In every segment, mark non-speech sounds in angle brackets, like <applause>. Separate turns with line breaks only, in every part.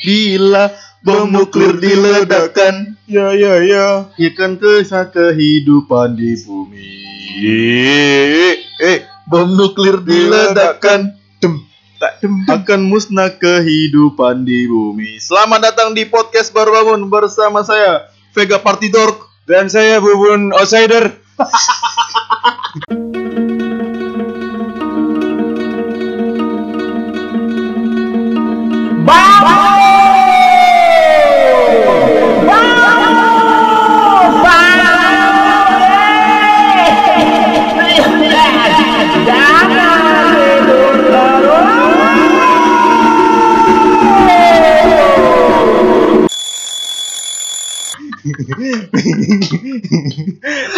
Bila bom nuklir diledakkan,
Ya ya ya.
akan kisah kehidupan di bumi. Eh, bom nuklir diledakkan,
Dem tak dem.
akan musnah kehidupan di bumi. Selamat datang di podcast Baru Bangun bersama saya Vega Partidor.
Dan saya Bubun Outsider.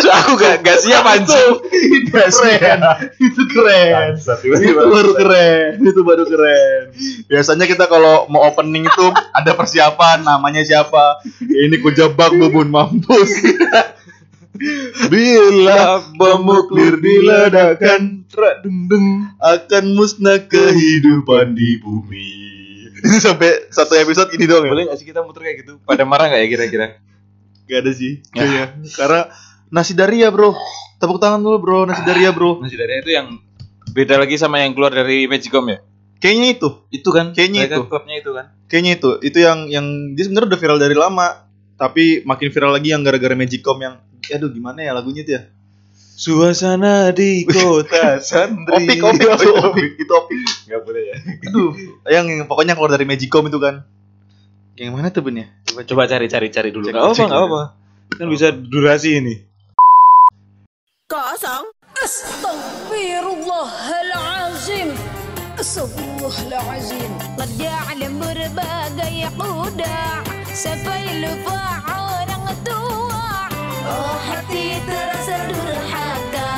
aku gak, gak siap anjing
itu keren. itu keren. Itu baru keren. Itu baru keren. Biasanya kita kalau mau opening itu ada persiapan, namanya siapa. Ini ku jebak bubun mampus. Bila bom nuklir diledakkan,
Trak deng deng.
akan musnah kehidupan di bumi. Itu sampai satu episode ini doang ya?
boleh gak sih kita muter kayak gitu pada marah gak ya kira-kira
Gak ada sih. Kayaknya. Karena nasi daria bro. Tepuk tangan dulu bro, nasi daria bro.
masih dari itu yang beda lagi sama yang keluar dari Magicom ya
Kayaknya itu.
itu kan
Kayaknya
mereka
itu.
klubnya itu kan
kayaknya itu itu yang yang dia sebenarnya udah viral dari lama tapi makin viral lagi yang gara-gara Magicom yang aduh gimana ya lagunya itu ya
Suasana di
<laughs>
kota santri.
opik opik itu
ya.
opik itu opik
gak boleh ya
aduh yang, yang pokoknya keluar dari Magicom itu kan yang mana tuh Ben ya
coba cari-cari cari dulu
Cek,
gak apa
cek
gak
dulu.
apa
Kan bisa durasi ini.
kosong
Astagfirullahalazim. Astagfirullahalazim. قد يعلم berbagai kuda sampai lupa orang tua. Oh hati terasa durhaka.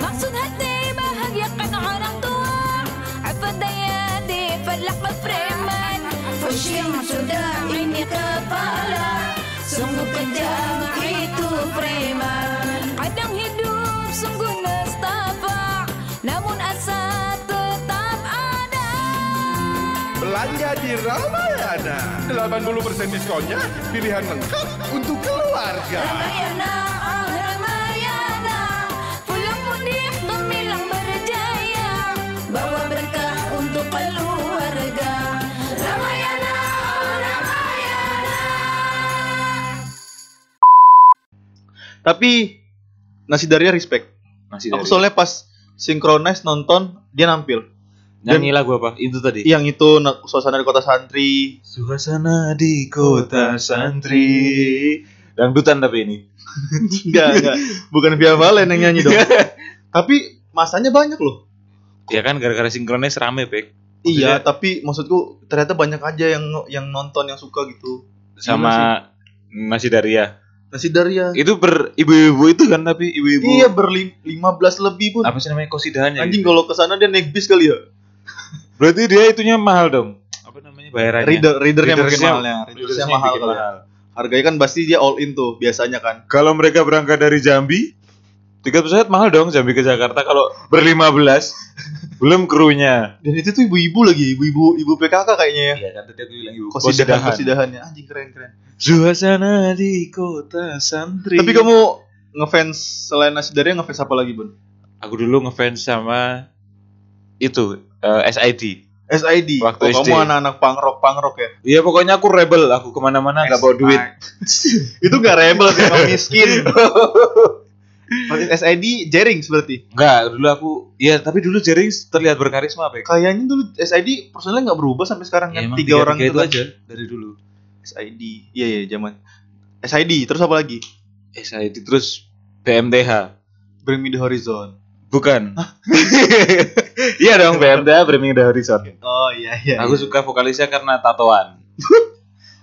Maksud hati bahagiakan orang tua. Apa daya di pelak preman. Fushing sudah ini kepala. Sungguh kejam itu preman. Kadang hidup sungguh nestapa, namun asa tetap ada.
Belanja di Ramayana 80% diskonnya Pilihan lengkap untuk keluarga
Ramayana, ah Ramayana, pulang mudik gemilang berjaya, bawa berkah untuk keluarga. Ramayana, ah Ramayana.
tapi nasi Daria respect
masih
aku soalnya pas synchronize nonton dia nampil
nyanyi lagu apa itu tadi
yang itu na- suasana di kota santri
Suasana di kota santri.
dangdutan tapi ini
enggak enggak bukan Via Valen yang <laughs> nyanyi dong tapi masanya banyak loh
ya kan gara-gara sinkronis rame pek
Iya,
Maksudnya-
tapi maksudku ternyata banyak aja yang yang nonton yang suka gitu.
sama nasi Daria
Nasi Daria.
itu ber ibu-ibu itu kan tapi ibu-ibu
Iya, berlima belas lebih pun.
apa sih namanya kosidahan ya
Anjing kalau ke sana dia naik bis kali ya.
berarti dia itunya mahal dong apa namanya bayarannya
Reader readernya mungkin
Readersnya-
mahalnya. Readersnya
Readersnya
mahal
bikin
kali. ya. Harganya kan pasti dia all in tuh biasanya kan.
Kalau mereka berangkat dari Jambi, tiket pesawat mahal dong Jambi ke Jakarta kalau berlima belas <laughs> belum krunya.
Dan itu tuh ibu-ibu lagi, ibu-ibu ibu PKK kayaknya ya.
Iya kan tadi aku bilang ibu
Kosidahan kosidahannya anjing keren-keren.
Suasana di kota santri.
Tapi kamu ngefans selain Nasi Daria ngefans apa lagi, Bun?
aku dulu ngefans sama itu eh, SID.
SID.
Waktu
Oh,
SD.
kamu anak-anak pangrok pangrok ya.
Iya pokoknya aku rebel, aku kemana-mana nggak bawa duit.
<laughs> itu gak rebel sih, emang miskin. Berarti SID jaring berarti.
Enggak, dulu aku, iya tapi dulu Jering terlihat berkarisma Pak.
Kayaknya dulu SID personelnya nggak berubah sampai sekarang
Ya,
kan
emang
tiga, orang
tiga
itu kan.
aja dari dulu.
SID, iya iya zaman. SID terus apa lagi?
SID terus BMTH.
Bring Me the Horizon.
Bukan. <laughs> iya dong BMTH Birmingham The Horizon.
Oh iya iya.
Aku suka vokalisnya karena tatoan.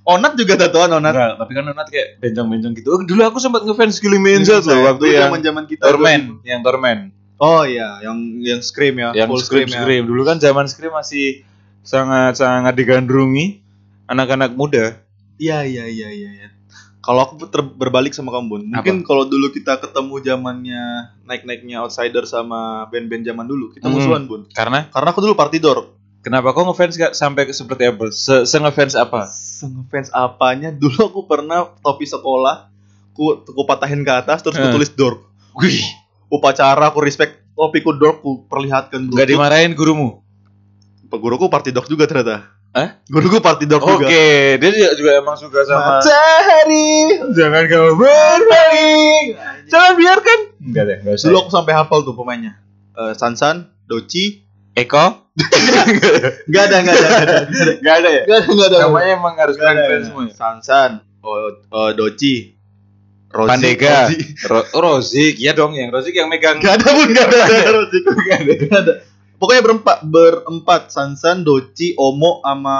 Onat juga tatoan Onat.
Enggak, tapi kan Onat kayak bencong-bencong gitu. Oh, dulu aku sempat ngefans Gilly Menza tuh waktu yang
zaman zaman ya. kita.
Tormen, yang Tormen,
Oh iya, yang yang scream ya,
yang scream
ya.
scream. Dulu kan zaman scream masih sangat sangat digandrungi anak-anak muda.
Iya iya iya iya. iya. Kalau aku ter- berbalik sama kamu, Bun. Mungkin kalau dulu kita ketemu zamannya naik-naiknya outsider sama band-band zaman dulu, kita
Hmm.
musuhan, Bun.
Karena
Karena aku dulu partidor.
Kenapa kok ngefans gak sampai ke- seperti apa? Se, se ngefans apa?
Sengefans apanya? <laughs> Dulu aku pernah topi sekolah, ku, ku patahin ke atas terus ku
Eh.
tulis dork.
Wih,
Upacara aku respect topiku dork ku perlihatkan
nggak dimarahin gurumu.
Guruku party dog juga ternyata.
Hah?
Guruku party dog
Eh? Oke,
juga.
dia juga, juga emang suka sama.
Matahari,
Jangan kau berpaling. Jangan biarkan. Enggak deh, enggak usah.
Dulu aku sampai hafal tuh pemainnya. Eh, Sansan, Doci,
Eko,
nggak ada, nggak ada, nggak ada,
enggak ada ya?
nggak ada, nggak ada.
Namanya emang harus
Nggak
keren
ada.
keren semua. ya?
Sansan, oh, oh, Doci, Rozi,
Pandega,
Rozi.
Ro- Rozik, ya dong yang Rozik yang megang.
Gak ada pun gak ada, gak ada Rozi. Gak ada. Pokoknya berempat, berempat Sansan, Doci, Omo sama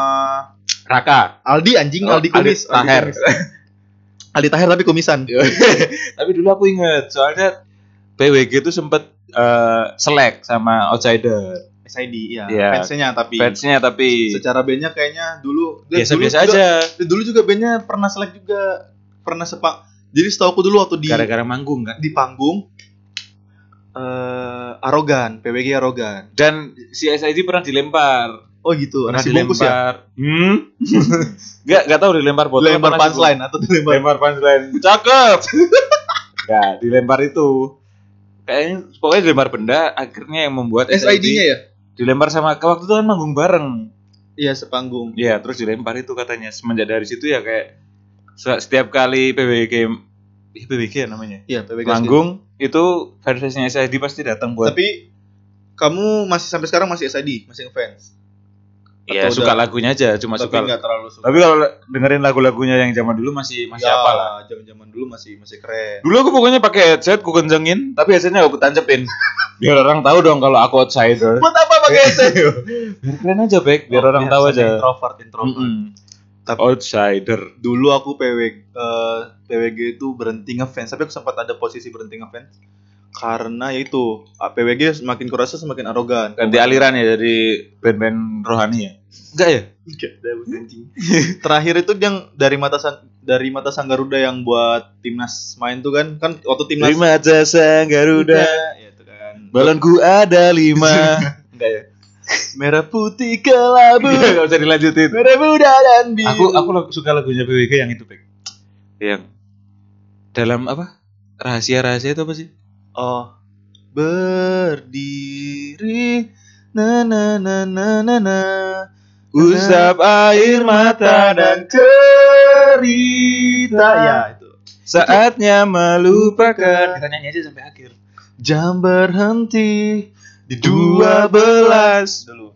Raka.
Aldi anjing,
Oh,
Aldi
Aldi
kumis, Aldi
Taher. Iya.
kumis. Aldi Taher tapi kumisan.
Tapi dulu aku inget soalnya PWG itu sempet eh, selek sama outsider
SID iya,
Iya.
fansnya tapi
fansnya tapi
secara bandnya kayaknya dulu dulu
biasa-biasa
juga-
aja
dulu juga bandnya pernah selek juga pernah sepak jadi setahu aku dulu waktu di
gara-gara manggung kan
di panggung eh arogan PWG arogan
dan si SID pernah dilempar
oh gitu
pernah
nasi bungkus ya
hmm <laughs> nggak nggak tahu dilempar botol
dilempar
apa nasi
punchline atau
bungkus.
dilempar
dilempar punchline <laughs> cakep nggak Ya, dilempar itu kayaknya pokoknya dilempar benda akhirnya yang membuat
SID-nya ya
dilempar sama waktu itu kan manggung bareng
iya sepanggung
Iya, terus dilempar itu katanya. Semenjak dari situ ya kayak se- setiap kali PBG ih, PBG ya namanya.
iya PWG
Manggung itu fansnya SID pasti datang buat
tapi kamu masih sampai sekarang masih SID masih ngefans
ya
atau
suka
udah-
lagunya aja, cuma
tapi
suka.
nggak terlalu suka
Tapi kalau dengerin lagu-lagunya yang zaman dulu masih masih
Ya.
apa lah.
zaman-zaman dulu masih masih keren
Dulu aku pokoknya pakai headset, ku kencengin, tapi headsetnya aku tancepin. biar orang tahu dong kalau aku outsider.
buat apa pakai SID
Biar keren aja, Bek, biar orang tahu aja.
Oh, introvert introvert
Mm-mm.
Tapi-
Outsider.
dulu aku PW eh, PWG itu berhenti ngefans tapi aku sempat ada posisi berhenti ngefans karena ya itu ah, PWG semakin kurasa semakin arogan
Ganti aliran ya dari band-band rohani ya. Enggak ya?
<laughs> terakhir itu yang dari mata Sang- dari mata sang Garuda yang buat timnas main tuh kan kan waktu timnas
Terima jasa Garuda.
ya itu kan
Balonku ada lima. <laughs>
Enggak ya merah putih kelabu
Gak usah dilanjutin.
merah muda dan biru
Aku aku lagu- suka lagunya PWG yang itu, Pek. Yang dalam apa? Rahasia-rahasia itu apa sih?
oh berdiri na na na na na na
Usap air mata dan
cerita ya itu
saatnya melupakan. Kita nyanyi aja sampai akhir.
jam berhenti di
Dua
dua belas
belas
dulu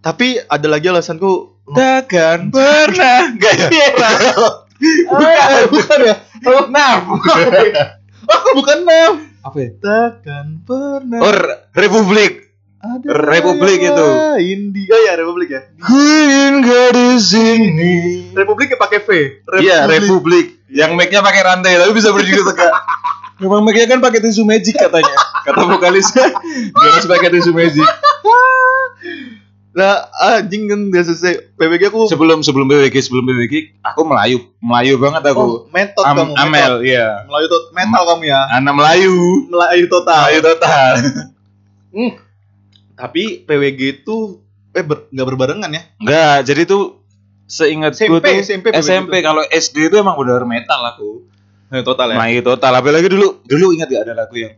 tapi ada lagi alasanku
takkan <laughs> pernah iya. gak ya?
bukan bukan ya
Oh, Enam.
aku bukan enam
Apa ya?
takkan pernah
Or Republik.
ada
Republik
yang
itu.
lain di- oh ya republik ya
Ku ingin gak di sini.
republik ya pakai v
Iya, Republik. Yang mic-nya pakai rantai tapi bisa berdiri tegak. Memang mic-nya kan pakai tisu magic katanya. Kata vokalisnya, dia harus pakai tisu magic.
nah anjing kan udah selesai PBG aku
Sebelum sebelum BWG, sebelum BWG, aku Melayu. Melayu banget
oh,
aku.
metot
Am-
kamu
Amel,
metot.
iya.
melayu tot metal kamu ya
Anak Melayu.
melayu total
Melayu total.
tapi PWG itu eh ber- nggak berbarengan ya
Enggak, jadi tuh seingat gue
SMP,
tuh
SMP,
SMP kalau SD itu emang bener metal aku.
total ya
Melayu total. Apalagi dulu dulu ingat gak ada lagu yang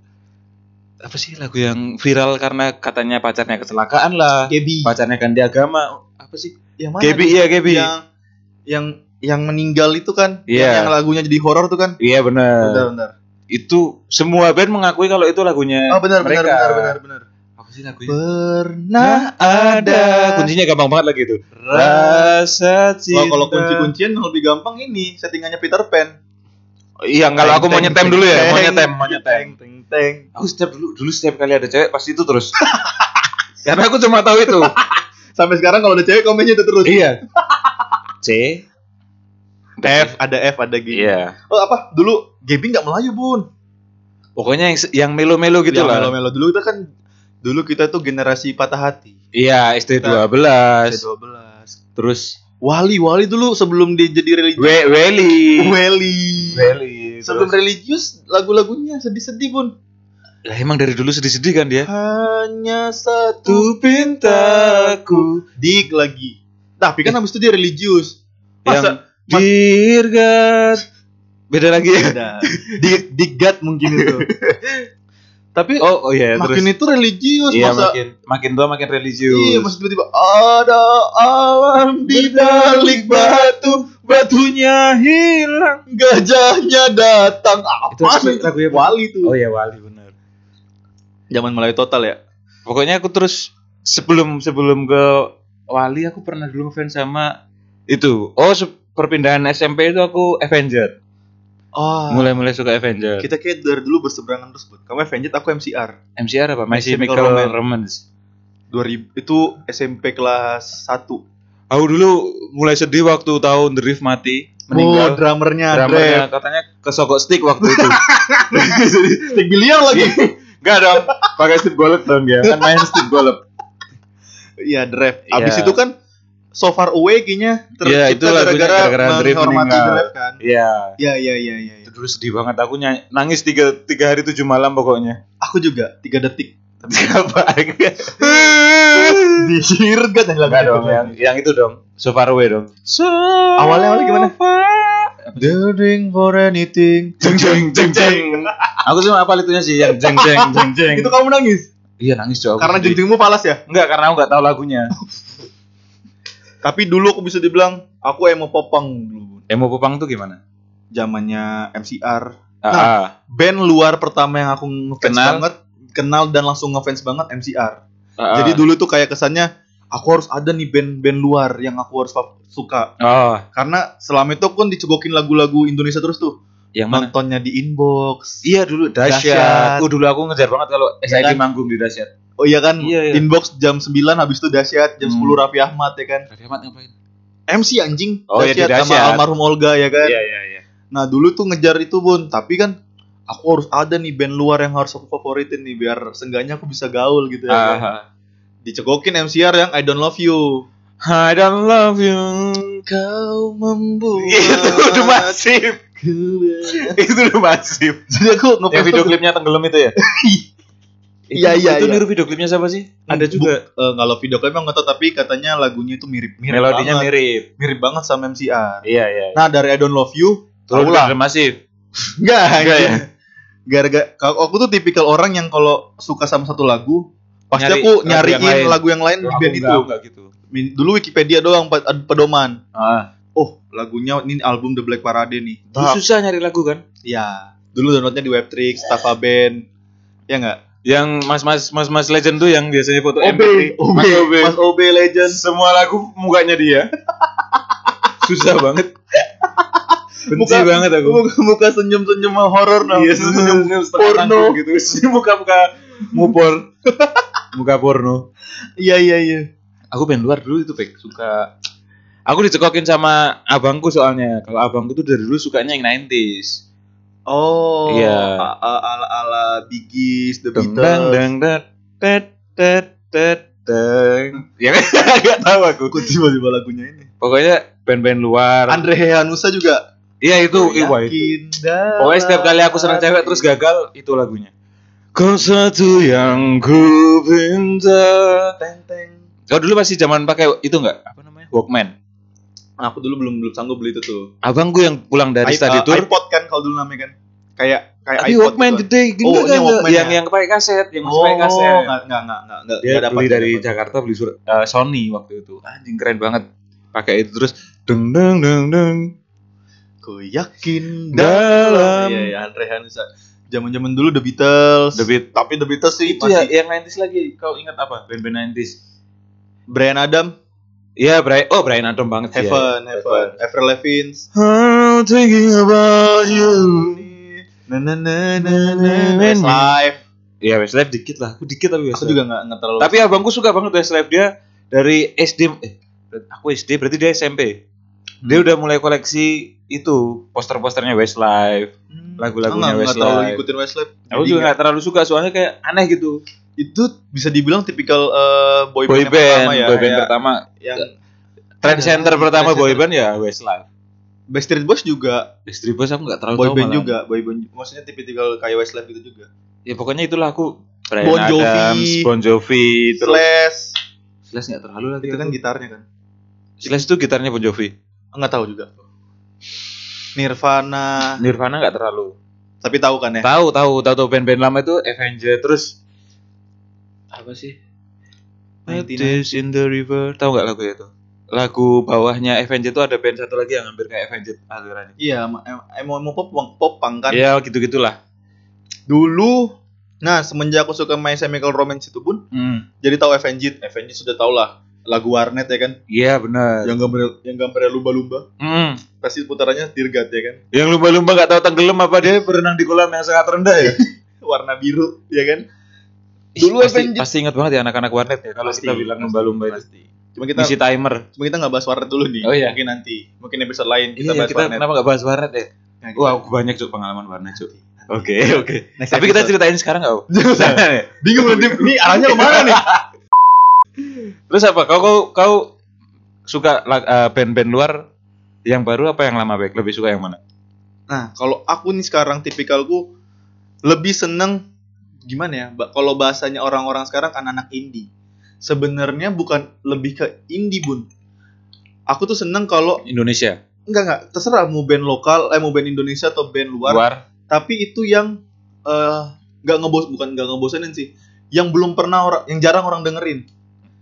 apa sih lagu yang viral karena katanya pacarnya kecelakaan lah.
Gebi
Pacarnya ganti agama. Apa sih?
yang mana
Gebi iya Gebi.
yang yang yang meninggal itu kan yang,
Iya.
yang lagunya jadi horor tuh kan
Iya
bentar
benar.
bentar
Itu semua band mengakui kalau itu lagunya
oh benar benar
mereka. Iya.
benar benar benar
Apa sih lagunya? Nah,
pernah
ada. Kuncinya gampang banget lagi itu. Nah,
Ra-
Rasa cinta.
Wah, kalau kunci-kuncian lebih gampang ini settingannya Peter Pan
Iya, kalau aku mau nyetem dulu ya, mau nyetem, mau nyetem.
teng teng teng
Aku setiap dulu dulu setiap kali ada cewek pasti itu terus. <laughs> Karena aku cuma tahu itu.
sampai sekarang kalau ada cewek komennya itu terus
<laughs> iya. C
F ada F ada G
Iya.
oh apa dulu Gebi nggak Melayu bun
Pokoknya yang yang melo-melo gitu
Yang
lah.
melo-melo dulu kita kan dulu kita tuh generasi patah hati
Iya, SD
Kita-
12.
12
Terus
Wali Wali dulu sebelum dia jadi religius
We- Weli.
Weli
Weli.
sebelum religius lagu-lagunya sedih-sedih bun
Lah emang dari dulu sedih-sedih kan dia?
Hanya satu
Tuh pintaku
dik lagi. Tapi kan habis itu dia religius.
yang
Masa
dirgat. Beda lagi ya.
Beda. dik digat mungkin
<laughs>
itu. Tapi
Oh, oh iya terus.
makin itu religius
Iya
masa
makin makin tua makin religius.
Iya, masa tiba-tiba ada alam di balik batu,
batunya hilang.
gajahnya datang.
Itu
Apa sih?
lagunya apa?
Oh wali tuh.
ya wali benar.
Zaman mulai total ya.
Pokoknya aku terus sebelum sebelum ke wali aku pernah dulu ngefans sama itu. Oh se- perpindahan SMP itu aku Avenger.
Oh.
Mulai-mulai suka Avenger.
Kita kayak dari dulu berseberangan terus, Bud. Kamu Avenged, aku MCR.
MCR apa?
My
My
Chemical
Chemical
Romance.
Romance.
2000 itu SMP kelas 1.
Aku dulu mulai sedih waktu tahun The Riff mati,
Oh,
meninggal.
drummernya,
Drummernya katanya kesogok stick waktu itu.
<laughs> Stick biliar lagi.
Enggak dong, pakai stick golep dong dia. Kan main stick
<laughs>
golep.
Iya, Drev. Abis
Iya.
itu kan So Far Away kayaknya
Iya, itu lagunya gara-gara Drev
menghormati
meninggal.
Drev kan.
Iya.
Iya, iya, iya, iya.
Itu dulu sedih banget aku ny- nangis tiga, tiga hari tujuh malam pokoknya. <laughs>
Aku juga 3 detik. <laughs>
Apa?
Iya, Dihirgat nyanyi lagu
Enggak
itu.
dong, yang, yang itu dong. So far away dong. So
Awalnya- awalnya gimana?
Doing for anything. Jeng jeng jeng jeng. Aku cuma apa itunya sih yang jeng jeng jeng jeng.
Itu kamu nangis
Iya nangis jauh.
karena jengjengmu falas ya.
Enggak karena aku enggak tahu lagunya.
Tapi dulu aku bisa dibilang aku emo popang dulu.
Emo Popang tuh gimana?
Zamannya MCR.
Ah,
Nah.
ah.
Band luar pertama yang aku ngefans
Kenal.
banget, kenal dan langsung ngefans banget MCR.
ah,
nah, Jadi
ah.
dulu tuh kayak kesannya aku harus ada nih band-band luar yang aku harus fa- suka.
Oh,
Karena selama itu aku kan dicegokin lagu-lagu Indonesia terus tuh.
yang mana?
Nontonnya di inbox.
Iya dulu
Dahsyat.
dahsyat. Aku dulu aku ngejar banget kalau SID
kan?
manggung di dahsyat.
Oh iya kan,
Iya, iya.
inbox jam 9 habis itu dahsyat, jam
Hmm.
10 Raffi Ahmad ya kan. MC anjing,
Oh, iya, di
sama
Dahsyat.
almarhum Olga ya kan.
Iya iya iya.
Nah dulu tuh ngejar itu bun, tapi kan aku harus ada nih band luar yang harus aku favoritin nih biar sengganya aku bisa gaul gitu ya. kan.
Ah,
Dicekokin MCR yang I Don't Love You.
I don't love you.
Kau <laughs> membuat.
Itu Iya, <laughs> udah masif. Itu udah masif.
Jadi aku
Yang
ngefans
video
tuh-
klipnya tenggelam itu ya?
<laughs> Iya, iya,
Itu
iya.
niru video klipnya siapa sih? Ada
Bu-
juga.
eh, nggak love video klipnya nggak tau tapi katanya lagunya itu mirip mirip
Melodinya
banget.
mirip.
mirip banget sama MCR.
Iya iya.
Nah dari I Don't Love You,
Turun
tahu <laughs> lah.
udah masif.
Enggak,
Enggak
anjing.
ya?
Gara-gara kalau aku tuh tipikal orang yang kalau suka sama satu lagu, pasti
Nyari
aku
lagu yang
nyariin
lain.
lagu yang lain, di
Aku
band
enggak,
itu.
enggak gitu.
Min- Dulu Wikipedia doang pad- ad- pedoman.
Ah.
Oh, lagunya ini album The Black Parade nih. Tahap.
susah nyari lagu kan?
Ya, dulu downloadnya di Webtrix, Tafa Band. Ya enggak?
Yang mas-mas mas-mas legend tuh yang biasanya foto MP3.
OB,
Mas OB.
Mas OB Legend.
Semua lagu mukanya dia. susah
<laughs>
banget. Benci
Muka-
banget aku.
Muka, muka senyum-senyum horor nah.
Iya, senyum-senyum setengah
Porno.
tanggung gitu. <laughs>
<laughs>
Muka-muka mupor. Muka porno.
Iya, iya, iya.
aku pengen luar dulu itu pek suka aku dicekokin sama abangku soalnya kalau abangku tuh dari dulu sukanya yang 90s
Oh,
Iya.
a- a- ala-ala Biggies, The
deng
Beatles.
deng deng deng deng deng deng deng ya <laughs> kan? nggak tahu aku
Aku tiba-tiba lagunya ini.
pokoknya band-band luar
Andre Hehanusa juga
iya
Oh,
itu iya wah, itu
Yakin dalam
pokoknya setiap kali aku senang cewek terus gagal itu lagunya kau satu yang ku pinta
tenteng.
kau dulu pasti zaman pakai itu nggak apa namanya Walkman
Nah, aku dulu belum belum sanggup beli itu tuh.
abangku yang pulang dari
I-
study
uh,
tour
iPod kan kalau dulu namanya kan. Kayak kayak
Tapi
iPod
Walkman
gitu.
gede gitu
Oh, ini
kan nggak?
Walkman
yang
ya?
yang pakai kaset, yang masih
Oh,
pakai kaset.
enggak enggak enggak enggak enggak
Dia
enggak
beli
dapat,
dari
enggak
Jakarta beli sur- eh, Sony waktu itu. Anjing keren banget. Pakai itu terus deng deng deng deng.
dapat. Ku yakin
Dalam.
dalam. Iya, iya, Andre Hanusa. Zaman-zaman dulu The Beatles.
The Beat-
Tapi The Beatles sih
Itu
masih
ya yang 90s lagi. Kau ingat apa? Band-band 90s.
Brian Adam,
Iya, Brian. Oh, Brian Adam banget sih. ya.
Heaven, Heaven, Avril Lavigne.
I'm thinking about you.
Na na na na na na. Live.
Iya, Westlife dikit lah. Aku dikit
Aku
tapi Westlife.
juga enggak enggak terlalu.
Tapi abangku suka banget Westlife dia dari SD eh aku SD berarti dia SMP.
Hmm.
Dia udah mulai koleksi itu poster-posternya Westlife. lagu-lagunya
Enggak, enggak Hmm. terlalu
Westlife.
ngikutin Westlife.
Aku
Jadi
juga nggak terlalu suka soalnya kayak aneh gitu.
itu bisa dibilang tipikal eh, boy
Boy
boyband
band,
pertama ya,
boy band
ya,
pertama,
yang
trend center
Trendsetter.
pertama boy band ya Westlife.
Backstreet Boys juga
Backstreet Boys aku nggak terlalu
boy
tahu
band
malah.
juga boy band maksudnya tipikal kayak Westlife gitu juga
ya pokoknya itulah aku Brian
Bon Jovi.
Adams, Bon Jovi, terus
Slash
Slash nggak terlalu lagi.
itu kan
aku.
gitarnya kan
Slash itu gitarnya Bon Jovi.
nggak tahu juga Nirvana
Nirvana nggak terlalu.
tapi tahu kan ya
Tahu tahu tahu tahu band-band lama itu Avenger terus apa sih? What
99.
is in the river. Tahu nggak lagu itu? Lagu bawahnya Avenger itu ada band satu lagi yang hampir kayak Avenger alirannya.
iya ma- em- emo emo pop pop punk kan
Ya gitu-gitulah.
dulu nah semenjak aku suka My Chemical Romance itu pun
Hmm.
jadi tahu Avenged Avenged sudah tau lah lagu warnet ya kan
Iya benar.
yang gambar yang gambarnya lumba-lumba
Hmm.
pasti putarannya dirgat ya kan <laughs>
Yang lumba-lumba nggak tahu tenggelam apa dia berenang di kolam yang sangat rendah <laughs> ya.
warna biru ya kan
Ih,
Dulu
pasti,
Avengers-
pasti ingat banget ya anak-anak warnet ya kalau
Pasti,
kita bilang
pasti,
lumba-lumba itu.
pasti. cuma kita
Misi timer.
cuma kita nggak bahas warnet dulu nih
Oh, iya.
mungkin nanti mungkin episode lain kita
Kita,
bahas
Iya, kita
warnet
kenapa nggak bahas warnet ya?
Nah, kita-
Wah, aku banyak cuk pengalaman warnet cuk. Oke, oke.
Next
Tapi kita
episode.
ceritain sekarang nggak? Om?
Jangan.
ya?
<laughs> bingung nanti ini arahnya kemana nih
<laughs> Terus apa? Kau kau kau suka la- eh, band-band luar yang baru apa yang lama baik? Lebih suka yang mana?
nah kalau aku nih sekarang tipikalku lebih seneng gimana ya ba- kalau bahasanya orang-orang sekarang anak-anak indie sebenarnya bukan lebih ke indie bun aku tuh seneng kalau
Indonesia.
enggak enggak terserah mau band lokal eh mau band Indonesia atau band luar
Luar.
tapi itu yang eh, nggak ngebos bukan nggak ngebosenin sih yang belum pernah orang yang jarang orang dengerin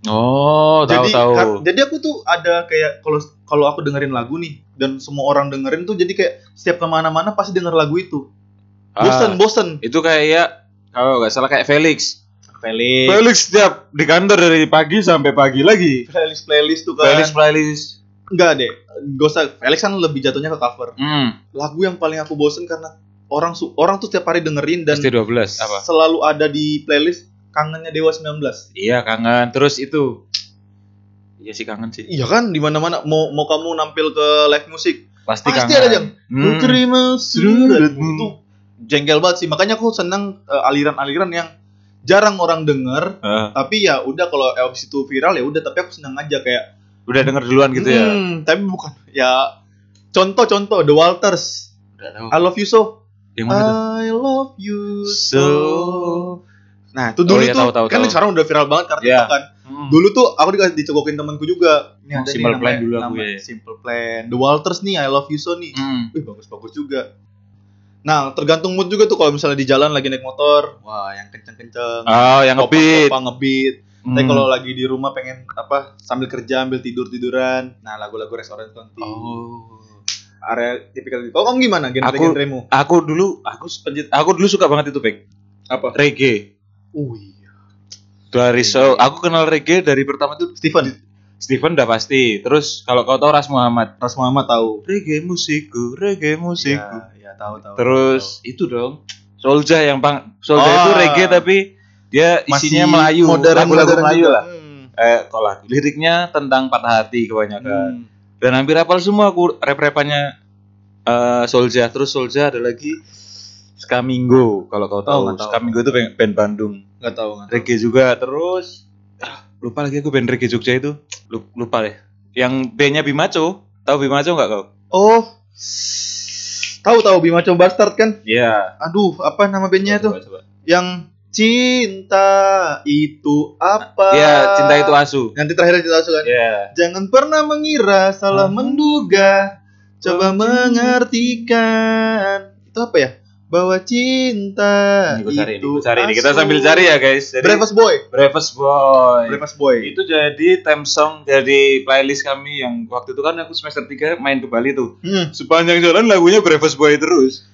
Oh, tahu
jadi
tahu.
kar- jadi aku tuh ada kayak kalau kalau aku dengerin lagu nih dan semua orang dengerin tuh jadi kayak setiap kemana-mana pasti denger lagu itu
Ah,
bosen bosen
itu kayak kalau nggak salah kayak Felix.
playlist
Felix setiap di kantor dari pagi sampai pagi lagi.
playlist playlist tuh kan
Playlist playlist.
nggak deh gak usah Felix kan lebih jatuhnya ke cover
Hmm.
lagu yang paling aku bosen karena orang su- orang tuh setiap hari dengerin dan
ST12 apa?
selalu ada di playlist kangennya Dewa 19
Iya kangen. Terus itu. Iya sih kangen sih.
Iya kan di mana-mana mau mau kamu nampil ke live musik
Pasti,
Pasti
kangen.
ada, Jang. Ku
Hmm.
terima suratmu.
Hmm.
Itu jengkel banget sih. Makanya aku seneng eh, aliran-aliran yang jarang orang denger.
Eh,
Tapi ya udah kalau abis itu viral ya udah. Tapi aku seneng aja kayak.
udah denger duluan gitu ya.
"Hmm, tapi bukan. Ya contoh-contoh The Walters.
Udah tahu.
I love you so.
Yang mana tuh?
I love you so. Nah itu
Oh,
dulu
iya,
tuh
tahu, tahu,
kan
tahu.
sekarang udah viral banget karena
Iya.
TikTok kan. Dulu tuh aku dikasih dicokokin temanku juga. Ini
Oh,
ada nih
Simple Plan
namanya-
dulu aku
namanya
ya.
Simple Plan. The Walters nih I love you so nih.
Hmm.
Wih bagus-bagus juga. Nah, tergantung mood juga tuh kalau misalnya di jalan lagi naik motor, wah yang kenceng-kenceng.
Oh, yang
Kopang-
ngebeat.
kopang ngebeat.
Hmm.
Tapi kalau lagi di rumah pengen apa sambil kerja ambil tidur tiduran, nah lagu-lagu restoran County.
Oh.
Area tipikal gitu. Kalau kamu gimana genre
Aku-
genremu?
Aku dulu aku sepenjit- aku dulu suka banget itu, Pek.
Apa?
Reggae.
Oh iya.
Dari so, aku kenal reggae dari pertama tuh
Steven,
Steven udah pasti. Terus kalau kau tahu Ras Muhammad,
Ras Muhammad tahu.
reggae musikku, reggae musikku.
Ya, ya tahu tahu.
Terus itu dong Solja yang bang Solja
Oh. Ah.
itu reggae tapi dia isinya Melayu, lagu-lagu Melayu lah. Eh, tolak. Liriknya tentang patah hati
Hmm.
kebanyakan. Dan hampir hafal semua aku rep-repannya eh Solja. Terus Solja ada lagi Skamingo kalau kau
Oh,
tahu.
nggak tahu.
Skamingo itu band, band Bandung.
Enggak tahu enggak.
Reggae juga. Terus ah, lupa lagi aku band reggae Jogja itu. Lu- Lupa deh. Yang bandnya Bimaco. Tahu Bimaco nggak kau?
Oh. Tahu tahu Bima coba start kan?
Iya.
Aduh, apa nama bandnya tuh?
Coba, coba.
yang cinta itu apa?
Iya, cinta itu asu.
Nanti terakhir cinta asu kan?
Iya.
Jangan pernah mengira, salah
Hmm.
menduga, coba mengartikan. Itu apa ya? Bahwa cinta
Ini gue cari, ini
Nah, itu
gue cari. Ini kita
asu.
sambil cari ya Iya. guys. Jadi Breakfast,
Breakfast Boy.
Boy.
Breakfast Boy.
Itu jadi theme song dari playlist kami yang waktu itu kan aku semester 3 main ke Bali tuh.
Hmm,
Sepanjang jalan lagunya Breakfast Boy terus.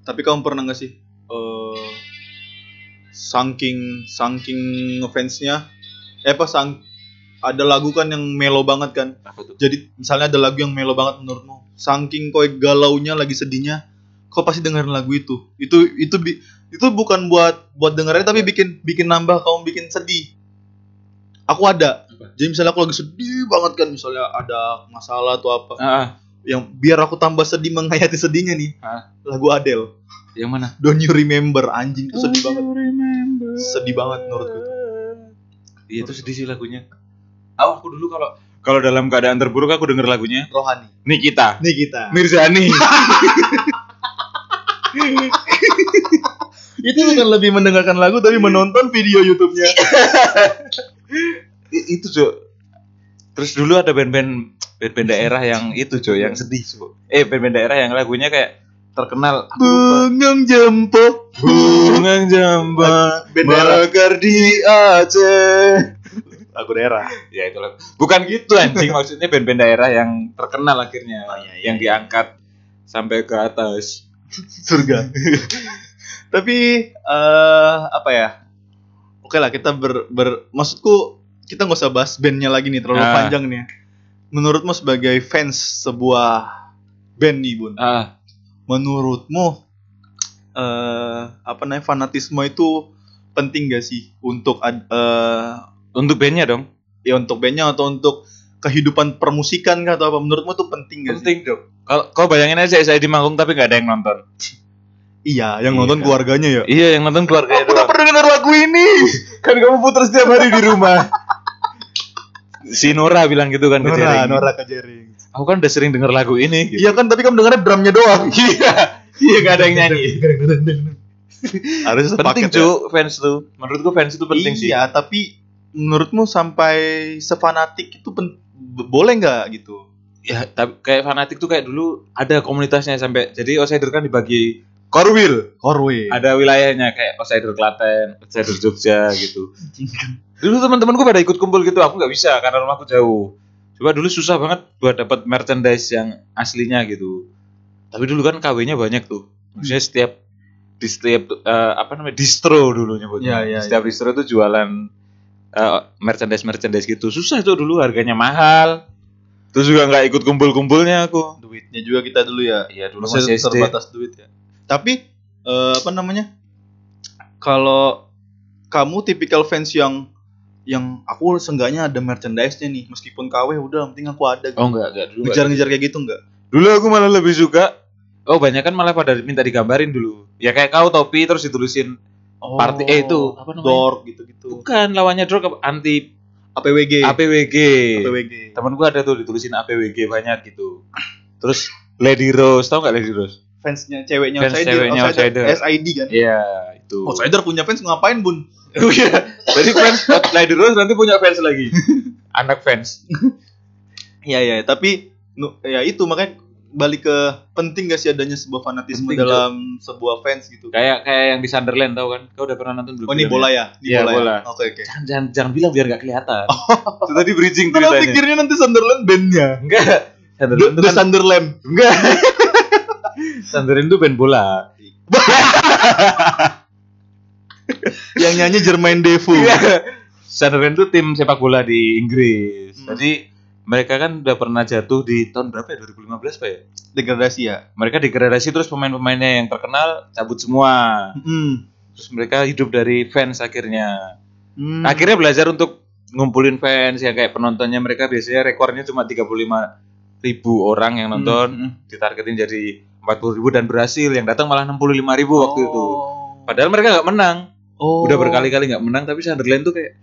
tapi kamu pernah gak sih eh saking saking ngefansnya eh apa sang ada lagu kan yang melo banget kan
Apa tuh?
jadi misalnya ada lagu yang melo banget menurutmu saking koe galaunya lagi sedihnya kau pasti dengerin lagu itu itu itu bi- itu bukan buat buat dengerin tapi bikin bikin nambah kamu bikin sedih aku ada jadi misalnya aku lagi sedih banget kan misalnya ada masalah atau apa
Ah,
yang biar aku tambah sedih menghayati sedihnya nih
Hah?
lagu Adele
yang mana?
Don't You Remember anjing itu sedih banget sedih banget menurutku itu.
Iya, itu sedih sih lagunya. Oh, aku dulu kalau kalau dalam keadaan terburuk aku denger lagunya
Rohani
Nikita.
<laughs> nih kita
Mirzani.
Itu bukan lebih mendengarkan lagu tapi menonton video YouTube-nya.
I- itu Jo terus dulu ada band-band band-band daerah yang itu Jo yang sedih Jo eh band-band daerah yang lagunya kayak terkenal
Bungang jempo
bunga jamba
Band daerah.
di Aceh
lagu daerah.
ya itu lagu. bukan gitu anjing maksudnya band-band daerah yang terkenal akhirnya yang diangkat sampai ke atas
surga. <laughs> Tapi eh apa ya? Oke lah kita ber, ber maksudku kita nggak usah bahas bandnya lagi nih terlalu
Ah.
panjang nih. ya. Menurutmu sebagai fans sebuah band nih bun,
ah
menurutmu eh apa namanya fanatisme itu penting gak sih untuk ad- eh
untuk bandnya dong
ya untuk bandnya atau untuk kehidupan permusikan kah atau apa menurutmu tuh penting gak sih?
penting dong kalau kau bayangin aja saya di manggung tapi nggak ada yang nonton
Iya, yang
Iya
nonton
kan.
keluarganya ya.
iya yang nonton keluarga
Aku udah pernah dengar lagu ini.
kan kamu puter setiap hari di rumah si Nora bilang gitu kan ke
Nora,
Jerry.
Nora Kajering.
aku kan udah sering denger lagu ini gitu.
Iya kan, tapi kamu dengarnya drumnya doang.
iya iya gak ada yang nyanyi
Harusnya sepaket
penting
ya.
cu fans tuh menurutku fans itu penting sih
Iya, tapi menurutmu sampai sefanatik itu pen- b- boleh nggak gitu?
ya tapi kayak fanatik tuh kayak dulu ada komunitasnya sampai jadi outsider kan dibagi korwil
Korwe.
ada wilayahnya kayak outsider Klaten outsider Jogja gitu dulu teman-temanku pada ikut kumpul gitu aku nggak bisa karena rumahku jauh coba dulu susah banget buat dapat merchandise yang aslinya gitu tapi dulu kan KW-nya banyak tuh maksudnya
Hmm.
setiap di setiap eh, apa namanya distro dulu nyebutnya
Ya, ya,
setiap distro itu jualan merchandise merchandise gitu susah tuh dulu harganya mahal terus juga nggak ikut kumpul-kumpulnya aku
Duitnya juga kita dulu ya.
Iya dulu
Masih
masih SD.
terbatas duit ya. Tapi eh, apa namanya? Kalau kamu tipikal fans yang yang aku seenggaknya ada merchandise-nya nih, meskipun KW udah yang penting aku ada. gitu.
Oh enggak, enggak dulu. enggak.
Ngejar-ngejar kayak gitu nggak?
Dulu aku malah lebih suka Oh banyak kan malah pada minta digambarin dulu. Ya kayak kau topi terus ditulisin Party- eh, itu, apa namanya?
Dork gitu-gitu.
bukan lawannya drug apa- anti
APWG.
APWG.
APWG.
Temen gua ada tuh ditulisin APWG banyak gitu. Terus Lady Rose, tau gak Lady Rose?
fansnya ceweknya
Fans ceweknya outsider.
SID kan
Iya, itu.
outsider punya fans ngapain bun
Oh <laughs> iya. Jadi fans Lady Rose nanti punya fans lagi. Anak fans.
iya iya tapi nu- ya itu makanya balik ke penting gak sih adanya sebuah fanatisme
Penting,
dalam sebuah fans gitu
Kayak kayak yang di Sunderland tau kan? Kau udah pernah nonton belum?
oh ini
filmnya?
bola ya ini
Iya,
bola,
bola.
ya? oke oke
Jangan, jangan, jangan bilang biar gak
<laughs>
kelihatan. Itu tadi bridging
Kenapa
ceritanya.
pikirnya nanti Sunderland bandnya
Enggak.
The,
ya. Sunderland itu
the
kan
Sunderland
<laughs> enggak. Sunderland itu band bola.
yang nyanyi Jermain Defoe
Iya. Sunderland itu tim sepak bola di Inggris.
Hmm.
Jadi mereka kan udah pernah jatuh di tahun berapa ya? 2015 Pak ya?
degradasi ya
Mereka degradasi terus pemain-pemainnya yang terkenal cabut semua.
Mm.
Terus mereka hidup dari fans akhirnya.
Mm.
Akhirnya belajar untuk ngumpulin fans ya kayak penontonnya mereka biasanya rekornya cuma 35 ribu orang yang nonton.
Mm.
ditargetin jadi 40.000 dan berhasil yang datang malah 65.000 waktu itu
Oh.
padahal mereka nggak menang
Oh.
udah berkali-kali nggak menang tapi Sunderland tuh kayak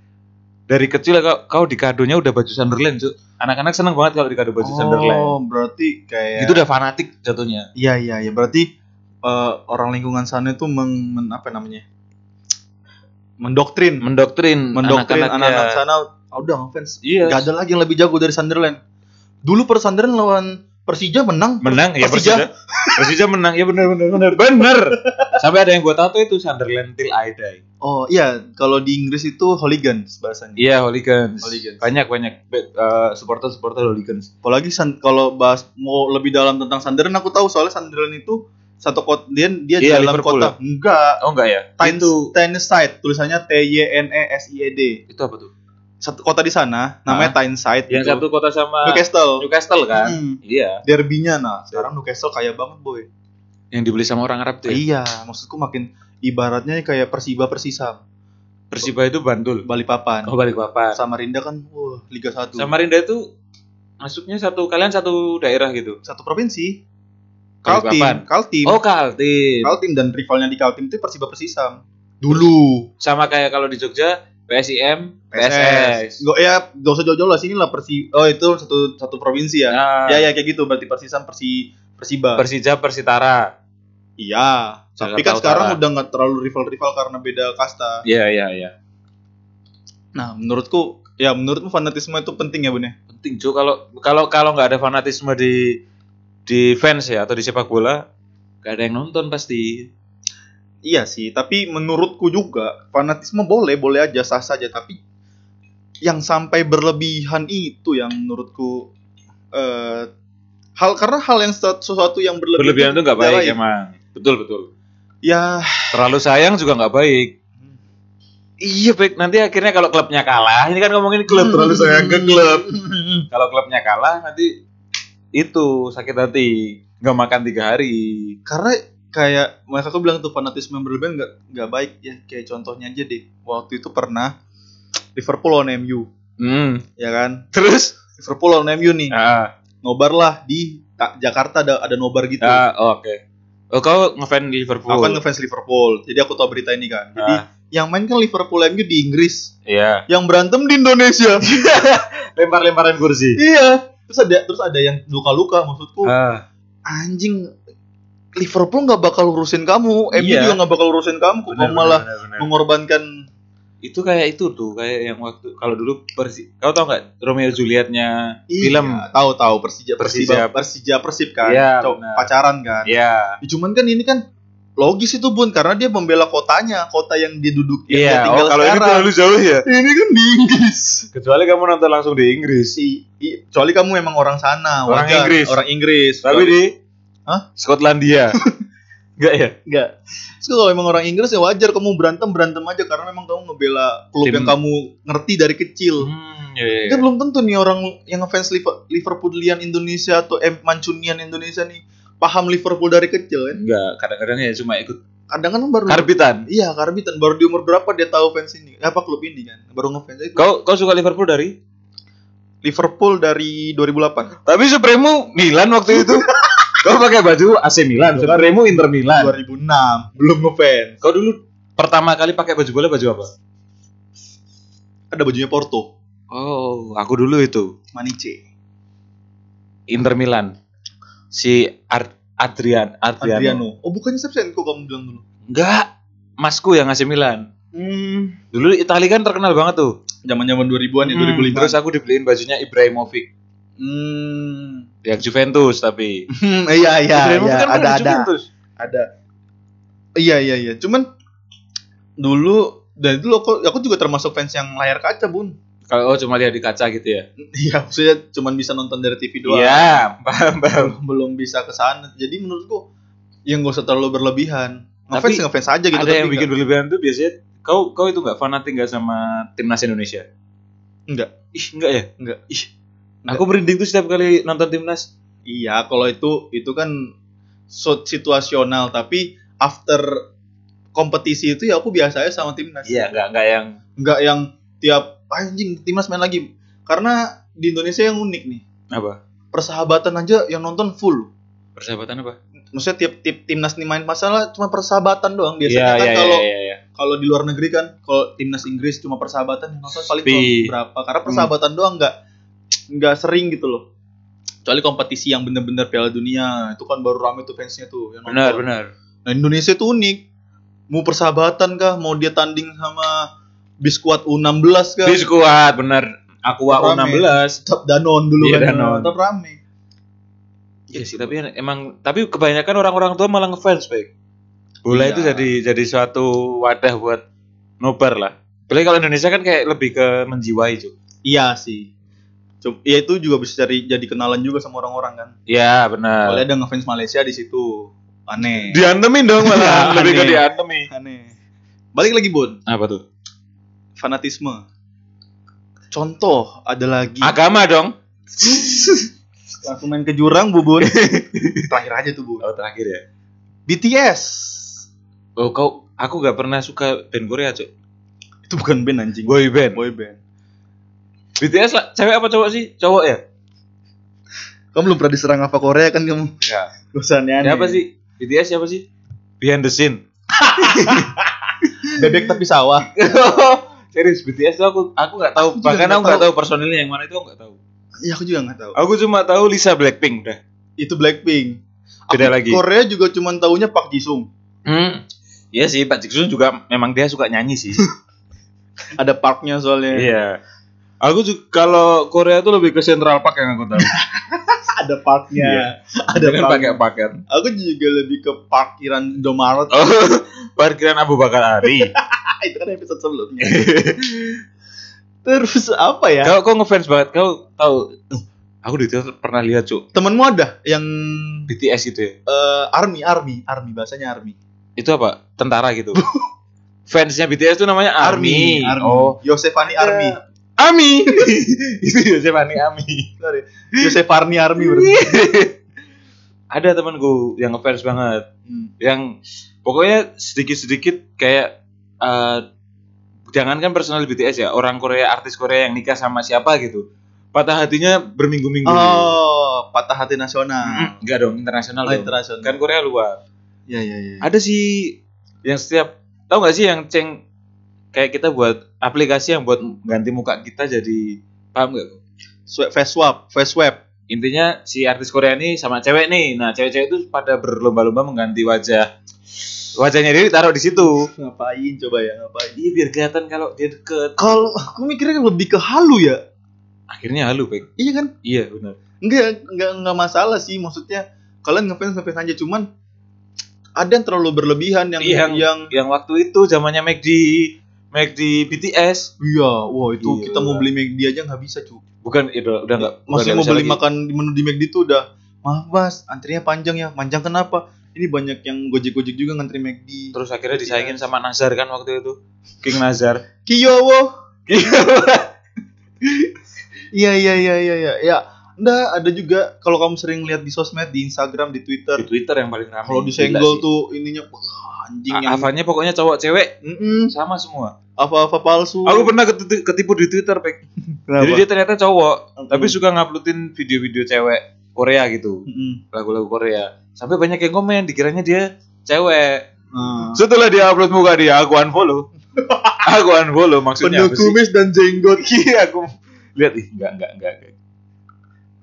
dari kecil ya, kau, kau di kadonya udah baju Sunderland Cuk. anak-anak seneng banget kalau dikado baju Sunderland
oh berarti kayak
itu udah fanatik jatuhnya
Iya iya ya berarti eh, orang lingkungan sana itu meng, men- apa namanya mendoktrin
mendoktrin
mendoktrin anak-anak
anak-anaknya
sana "Ah, udah ngefans
ya. Iya.
gak ada lagi yang lebih jago dari Sunderland dulu per Sunderland lawan Persija menang
menang ya Persija
Persija.
Persija menang ya benar benar benar benar sampai ada yang buat tato itu Sunderland till I die
oh iya kalau di Inggris itu hooligans bahasanya
iya hooligans,
Hooligans.
banyak banyak eh, supporter-supporter hooligans
apalagi Sun- kalau bahas mau lebih dalam tentang Sunderland aku tahu soalnya Sunderland itu satu kota dia dia
Iya,
dalam
Liverpool.
kota enggak
oh enggak ya itu
Tyneside tulisannya T Y N E S I E D
itu apa tuh
satu kota di sana namanya Tyneside
Ah. yang
gitu.
satu kota sama
Newcastle
Newcastle kan?
Hmm.
Iya.
derbynya nah sekarang Newcastle kaya banget boy
Yang dibeli sama orang Arab tuh.
iya
ya?
maksudku makin ibaratnya kayak Persiba Persisam
Persiba itu Bantul.
Balikpapan
Oh Balikpapan.
Samarinda kan wah Liga 1
Samarinda itu masuknya satu kalian satu daerah gitu.
satu provinsi
Balikpapan.
Kaltim Kaltim
Oh Kaltim.
Kaltim dan rivalnya di Kaltim itu Persiba Persisam dulu
Sama kayak kalau di Jogja PSIM,
PSS
PSS.
nggak ya gak usah jauh-jauh lah sini lah Persi oh itu satu satu provinsi ya
Nah,
ya ya kayak gitu berarti Persisam Persi Persiba
Persija Persitara.
Iya, tapi
Jakarta
kan sekarang
Utara.
udah nggak terlalu rival-rival karena beda kasta.
Iya iya iya.
Nah, menurutku ya menurutmu fanatisme itu penting ya, Bun ya?
Penting cuy kalau kalau kalau nggak ada fanatisme di di fans ya atau di sepak bola nggak ada yang nonton pasti.
Iya sih, tapi menurutku juga fanatisme boleh, boleh aja sah saja, tapi yang sampai berlebihan itu yang menurutku eh hal karena hal yang sesuatu, sesuatu yang berlebihan,
Berlebihan itu nggak baik
ya.
emang. Betul betul.
Ya,
Terlalu sayang juga nggak baik. Iya baik nanti akhirnya kalau klubnya kalah ini kan ngomongin klub terlalu
<laughs>
sayang ke klub. kalau klubnya kalah nanti itu sakit hati nggak makan tiga hari.
karena kayak mereka aku bilang tuh fanatisme yang berlebihan nggak nggak baik ya kayak contohnya aja deh waktu itu pernah Liverpool lawan MU
Hmm.
ya kan
Terus?
Liverpool lawan MU nih
Ah,
nobar lah di Ta- Jakarta ada ada nobar gitu
ah, oke. Oh kau ngefans di Liverpool?
aku kan ngefans Liverpool jadi aku tahu berita ini
Ah,
kan jadi yang main kan Liverpool MU di Inggris
Iya.
yang berantem di Indonesia
Lempar-lemparan kursi.
iya terus ada terus ada yang luka-luka maksudku
Ah,
anjing Liverpool nggak bakal urusin kamu MU
Iya.
juga nggak bakal urusin kamu kok kamu malah mengorbankan
itu kayak itu tuh kayak yang waktu kalau dulu persi kau tau nggak Romeo Julietnya film
tahu tahu Iya. Persija Persija
Persija.
Persija Persib kan
Iya,
Cok,
benar.
pacaran kan
Iya.
Ya, cuman kan ini kan logis itu bun karena dia membela kotanya kota yang dia duduk yang dia
Iya,
tinggal
oh, kalau ini
sekarang
terlalu jauh ya.
ini, kan di Inggris
Kecuali kamu nonton langsung di Inggris.
si i- kecuali kamu memang orang sana
Orang
wajar.
Inggris.
orang Inggris
Tapi di
Hah?
<laughs> Skotlandia. Enggak ya?
enggak Terus kalau memang orang Inggris ya wajar kamu berantem berantem aja karena memang kamu ngebela klub
Tim.
yang kamu ngerti dari kecil
Hmm, iya, iya,
Kan belum tentu nih orang yang ngefans Liver- Liverpoolian Indonesia atau eh, Mancunian Indonesia nih paham Liverpool dari kecil kan.
Enggak, kadang-kadang ya cuma ikut
Kadang kan baru
karbitan.
Iya, karbitan baru di umur berapa dia tahu fans ini? Apa klub ini kan? Baru ngefans itu.
Kau kau suka Liverpool dari?
Liverpool dari 2008.
Tapi Supremo Milan waktu itu. <laughs> kau pakai baju AC Milan, Supremo Inter Milan.
2006 belum ngefans.
Kau dulu pertama kali pakai baju bola baju apa?
Ada bajunya Porto,
Oh, aku dulu itu
Maniche,
Inter Milan. Si Ar- Adrian, Adriano.
Adriano. Oh, bukannya Shevchenko kamu bilang dulu.
Enggak, masku yang AC Milan.
Hmm,
Dulu Italia kan terkenal banget tuh.
zaman-zaman 2000-an ya,
Hmm,
2005.
Terus aku dibeliin bajunya Ibrahimovic
hmm.
yang Juventus <laughs> tapi.
Hmm, iya iya,
Ibrahimovic
iya.
kan
ada
pernah di
ada.
Juventus.
ada iya iya iya cuman dulu dan dulu aku aku juga termasuk fans yang layar kaca bun
Kalau oh, cuma lihat di kaca gitu ya.
iya maksudnya cuman bisa nonton dari TV doang
Iya, <laughs> paham paham.
belum, belum bisa ke sana jadi menurutku yang gak usah terlalu berlebihan
Tapi
ngefans ya ngefans aja gitu
ada yang
tapi
bikin
nggak-
berlebihan tuh biasanya kau kau itu nggak fanatik nggak sama timnas Indonesia?
Nggak.
Ih enggak ya?
Nggak.
Ih.
Nggak.
Aku merinding tuh setiap kali nonton timnas.
iya kalau itu itu kan so- situasional tapi after kompetisi itu ya aku biasanya sama timnas
Iya nggak nggak yang
nggak yang tiap anjing timnas main lagi karena di Indonesia yang unik nih
apa
persahabatan aja yang nonton full.
persahabatan apa?
Maksudnya tiap tiap timnas nih main masalah cuma persahabatan doang
Iya
biasanya kan
iya
kalau
iya iya. iya.
kalau di luar negeri kan kalau timnas Inggris cuma persahabatan yang nonton paling
Sepi.
cuma berapa karena
Hmm.
persahabatan doang nggak nggak sering gitu loh. Kecuali kompetisi yang bener-bener Piala Dunia itu kan baru rame tuh fansnya tuh yang
Benar
nonton.
benar.
Nah Indonesia tuh unik. Mau persahabatan kah? Mau dia tanding sama Biskuat U16 kah?
Bis kuat benar. Aku
Rame.
U16.
Tetap Danon dulu
Iya,
kan.
Danone.
Tetap rame.
Iya sih, tapi emang tapi kebanyakan orang-orang tua malah ngefans baik. Bola
Iya.
itu jadi jadi suatu wadah buat nobar lah. Boleh kalau Indonesia kan kayak lebih ke menjiwai cuy.
Iya sih. Cuma, ya itu juga bisa cari jadi kenalan juga sama orang-orang kan.
Iya
Soalnya
benar.
ada ngefans Malaysia di situ. Aneh.
Diantemin dong malah, <laughs>
Iya,
lebih ke
aneh.
diantemin.
Aneh. Balik lagi Bun,
Apa tuh?
fanatisme. Contoh ada lagi.
Agama dong.
Langsung main ke jurang Bu <laughs> Bun. Terakhir aja tuh Bun.
Oh terakhir ya.
BTS.
Oh kau, aku gak pernah suka band Korea cuy.
Itu bukan band anjing.
Boy band.
Boy band.
BTS lah, cewek apa cowok sih? Cowok ya.
Kamu belum pernah diserang apa Korea kan kamu?
Iya.
Gak usah aneh
Siapa sih? BTS siapa sih? Behind the scene.
Bebek tapi sawah.
<laughs> Serius BTS tuh aku aku nggak tahu
Aku juga
bahkan
nggak
aku nggak
tahu.
tahu personilnya yang mana itu aku nggak tahu.
Ya aku juga gak tahu.
Aku cuma tahu Lisa Blackpink udah.
Itu Blackpink.
beda lagi.
Korea juga cuma taunya Pak Jisung.
Hmm. Iya sih Pak Jackson juga memang dia suka nyanyi sih.
Ada parknya soalnya.
<laughs> Iya. Aku juga kalau Korea tuh lebih ke Central Park yang aku tahu.
Ada parknya.
Iya.
Ada
<laughs> Dengan
park.
pakai paket.
Aku juga lebih ke parkiran Indomaret.
Oh, <laughs> parkiran Abu Bakar Ari.
Ah, <laughs> itu kan episode sebelumnya. Terus apa ya?
<laughs> kau kau ngefans banget. Kau tahu? Uh, aku di Twitter pernah lihat cuk
Temenmu ada yang
BTS gitu ya.
eh, army, army, army bahasanya army.
Itu apa? Tentara <laughs> gitu. Fansnya BTS tuh namanya Army. Oh,
Oh, Yosefani Army. <laughs>
Ami. <laughs> itu ya, Yosef Ani Ami.
Sorry. Yosefani Army
<laughs>
berarti.
Ada temanku yang ngefans banget.
Hmm.
yang pokoknya sedikit-sedikit kayak eh, jangankan personal BTS ya orang Korea artis Korea yang nikah sama siapa gitu patah hatinya berminggu-minggu gitu.
Oh, patah hati nasional.
Mm, enggak dong internasional
Oh,
dong.
internasional.
kan Korea luar
Ya, ya, ya.
ada sih yang setiap tahu nggak sih yang ceng kayak kita buat aplikasi yang buat ganti muka kita jadi paham nggak
Swap, face swap, face swap.
intinya si artis Korea ini sama cewek nih nah cewek-cewek itu pada berlomba-lomba mengganti wajah wajahnya dia ditaruh di situ
Ngapain coba ya? Ngapain?
dia biar kelihatan kalau dia deket
Kalau aku mikirnya lebih ke halu ya.
akhirnya halu Pek.
Iya kan?
iya benar
Enggak, enggak, enggak masalah sih. Maksudnya kalian ngefans ngefans aja cuman ada yang terlalu berlebihan yang
Iya.
yang
yang waktu itu zamannya McD McD BTS
iya wah itu
Iya.
kita mau beli McD aja nggak bisa cu
bukan itu udah nggak
masih
udah
mau
bisa
beli
lagi.
makan di menu di McD itu udah maaf mas antrinya panjang ya panjang kenapa ini banyak yang gojek gojek juga ngantri McD
terus akhirnya disaingin sama Nazar kan waktu itu King Nazar
Kiyowo iya iya iya iya iya ya Nggak, ada juga kalau kamu sering lihat di sosmed di Instagram di
di
Twitter
Twitter yang paling ramai
kalau disenggol tuh ininya wah, anjing yang
Avannya pokoknya cowok cewek
Mm-mm,
sama semua.
apa-apa palsu
Aku pernah ketipu, ketipu di Twitter, Pek.
Kenapa?
Jadi dia ternyata cowok,
Mm-mm.
tapi suka nguploadin video-video cewek Korea gitu,
Mm-mm.
lagu-lagu Korea. Sampai banyak yang komen, dikiranya dia cewek.
Nah.
Setelah dia upload muka dia, aku <laughs> unfollow. aku unfollow maksudnya
penuh
apa sih?
kumis dan <laughs> jenggot
Iya, aku lihat ih enggak enggak enggak. enggak.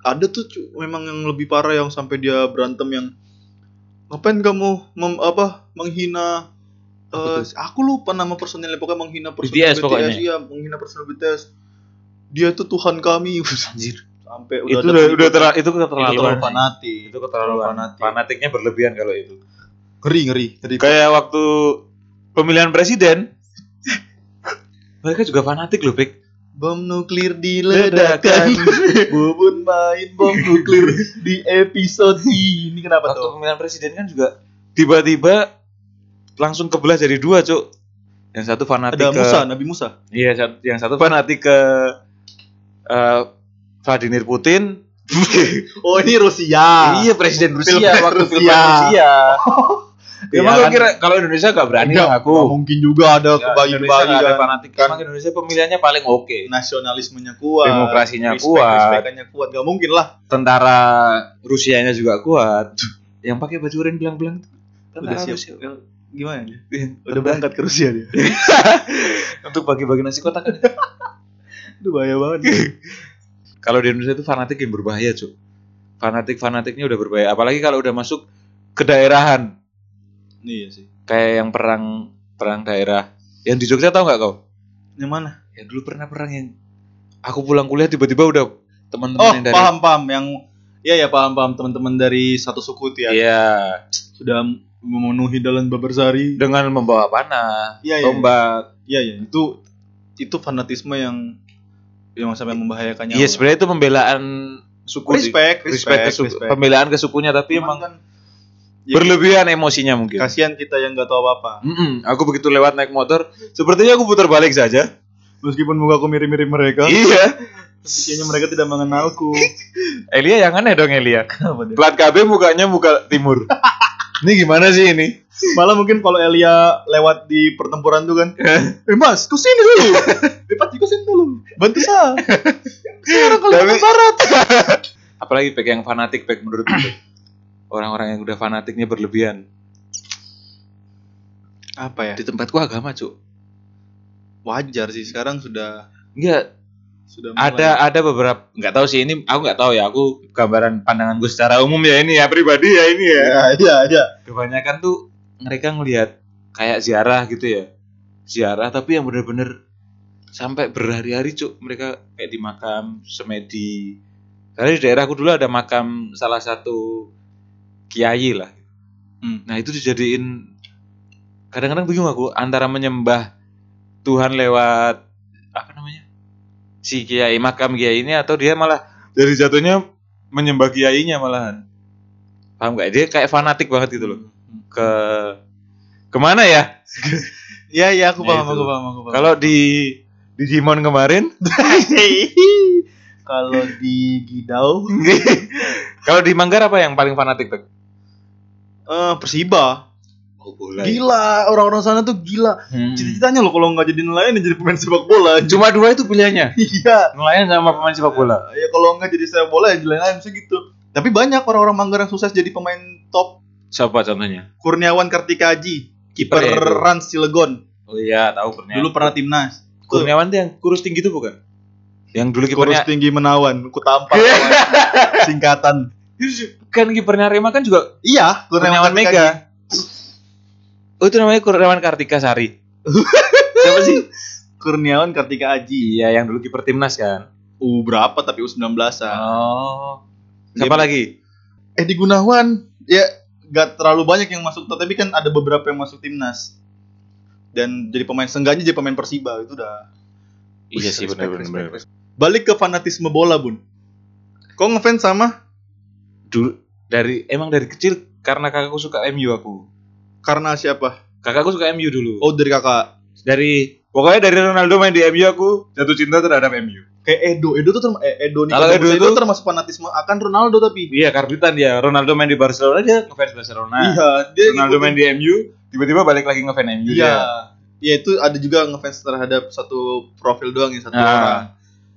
ada tuh cu- memang yang lebih parah yang sampai dia berantem yang ngapain kamu mem- apa menghina eh, aku lupa nama personilnya pokoknya menghina personil
BTS pokoknya.
iya menghina personil BTS dia tuh Tuhan kami <laughs>
Anjir.
sampai udah
Itu
ada
udah
tweet-
udah terlalu itu keterlaluan.
itu terlalu fanatik
Itu keterlaluan.
fanatik.
Fanatiknya berlebihan kalau itu.
ngeri ngeri ngeri
Kayak waktu pemilihan presiden mereka juga fanatik loh, Pik.
bom nuklir diledakkan <laughs> bubun main bom nuklir di episode ini kenapa
Waktu
tuh
pemilihan presiden kan juga tiba-tiba langsung kebelah jadi dua, Cuk. Yang satu fanatik
ada
ke
Musa Nabi Musa
Iya, sat- yang satu fanatik ke eh, Vladimir Putin.
oh ini Rusia
Iya, presiden Rusia
Pilpres
waktu
Rusia.
Pilpres Rusia.
Iya
Emang lu
kan?
kira kalau Indonesia gak berani
Nggak,
ngaku?
nggak mungkin juga ada
Nggak, Indonesia
kebagi-bagi
nggak ada
Oh, kan.
fanatik.
Kan Nah.
Emang Indonesia pemilihannya paling oke.
nasionalismenya kuat,
Demokrasinya
respect-
kuat.
respect-nya kuat, gak mungkin lah.
Tentara Rusianya juga kuat. Yang pakai baju oranye belang-belang itu. Tentara
Udah siap.
Kan Rusia.
Gimana? dia? Udah
Udah
berangkat ke Rusia
<laughs>
dia.
Untuk bagi-bagi nasi kotak kan.
Itu bahaya banget.
kalau di Indonesia itu fanatik yang berbahaya, Cuk. Fanatik-fanatiknya udah berbahaya. Apalagi kalau udah masuk ke daerahan.
<laughs> iya sih.
Kayak yang perang perang daerah. Yang di Jogja tahu nggak kau?
Yang mana?
Yang dulu pernah perang yang aku pulang kuliah tiba-tiba udah
Oh,
teman-teman yang dari
paham paham yang Iya ya paham paham teman-teman dari satu suku itu ya.
Iya,
Sudah memenuhi dalam Babarsari.
dengan membawa panah,
Iya iya.
tombak.
Iya iya. Itu itu fanatisme yang yang sampai membahayakannya.
Iya, sebenarnya itu pembelaan suku. di-
respect,
respect, ke suku-
respect.
pembelaan ke sukunya tapi
Cuman
emang
kan, ya,
berlebihan emosinya mungkin.
kasihan kita yang nggak tahu apa-apa.
Mm-mm, aku begitu lewat naik motor, sepertinya aku putar balik saja.
Meskipun muka aku mirip-mirip mereka,
Iya.
tapi kayaknya mereka tidak mengenalku. <laughs>
Elia yang aneh dong Elia.
Kenapa dia?
Plat KB mukanya muka timur. <laughs> ini gimana sih ini?
Malah mungkin kalau Elia lewat di pertempuran
<laughs>
tuh kan, eh mas, ke sini dulu, lipat ke sini dulu, bantu
<laughs>
saya. Sekarang kalau
Tapi-
ke barat.
Apalagi pek yang fanatik pek menurut orang-orang yang udah fanatiknya berlebihan.
Apa ya?
Di tempatku agama, Cuk.
Wajar sih sekarang sudah
Iya. Enggak,
Sudah mulai.
ada ada beberapa nggak tahu sih ini aku nggak tahu ya aku gambaran pandangan gue secara umum ya ini ya pribadi ya ini ya
Ya, iya, iya.
kebanyakan tuh mereka ngelihat kayak ziarah gitu ya ziarah tapi yang bener-bener sampai berhari-hari cuk mereka kayak di makam semedi karena di daerahku dulu ada makam salah satu kiai lah
Hmm.
nah itu dijadiin kadang-kadang bingung aku antara menyembah Tuhan lewat apa namanya si kiai makam kiai ini atau dia malah dari jatuhnya menyembah kiainya malahan paham gak dia kayak fanatik banget gitu loh ke Eh, kemana ya?
Iya iya aku
Ya,
paham
itu.
aku paham aku paham.
<laughs>
Kalau di Digimon kemarin,
kalau di Gidau
kalau di Manggar apa yang paling fanatik tuh?
Eh, Persiba.
Oh, Hmm.
Gila, orang-orang sana tuh gila. Cita-citanya loh kalau nggak jadi nelayan ya jadi pemain sepak bola. <laughs>
Cuma dua itu pilihannya,
Iya.
nelayan sama pemain sepak bola.
Ya kalau nggak jadi sepak bola ya jadi nelayan misalnya gitu. Tapi banyak orang-orang Manggar yang sukses jadi pemain top.
Siapa contohnya?
Kurniawan Kartika Haji,
Kiper ya. itu.
peran Cilegon.
Oh iya, tahu Kurniawan.
Dulu pernah timnas.
Kurniawan tuh yang kurus tinggi itu bukan? Yang dulu
Kurus
kipernya
tinggi menawan, ku
<laughs>
tampar. Singkatan.
kan kipernya Arema kan juga
Iya,
Kurniawan
Kartika
Mega.
Haji.
Oh itu namanya Kurniawan Kartika Sari. Siapa sih?
Kurniawan Kartika Haji.
Iya, yang dulu kiper timnas kan.
U berapa tapi U19-an.
Oh. Siapa lagi?
Eh di Gunawan ya gak terlalu banyak yang masuk tapi kan ada beberapa yang masuk timnas. Dan jadi pemain sengganya jadi pemain Persiba itu udah.
Iya sih
Respect,
benar-benar.
respect,
benar.
Balik ke fanatisme bola, Bun. Kok ngefans sama
dulu dari emang dari kecil karena kakakku suka MU aku.
karena siapa?
Kakakku suka MU dulu.
Oh, dari Kakak.
Dari pokoknya dari Ronaldo main di MU aku jatuh cinta terhadap MU.
Kayak Edo, Edo tuh termasuk Edo nih.
Kalau Edo itu-
termasuk fanatisme akan Ronaldo tapi.
Iya, karbitan dia. Ronaldo main di Barcelona dia ngefans Barcelona.
iya, dia
Ronaldo
ngikutin.
main di MU, tiba-tiba balik lagi ngefans MU
Iya.
dia.
Ya itu ada juga ngefans terhadap satu profil doang ya satu
Nah.
orang.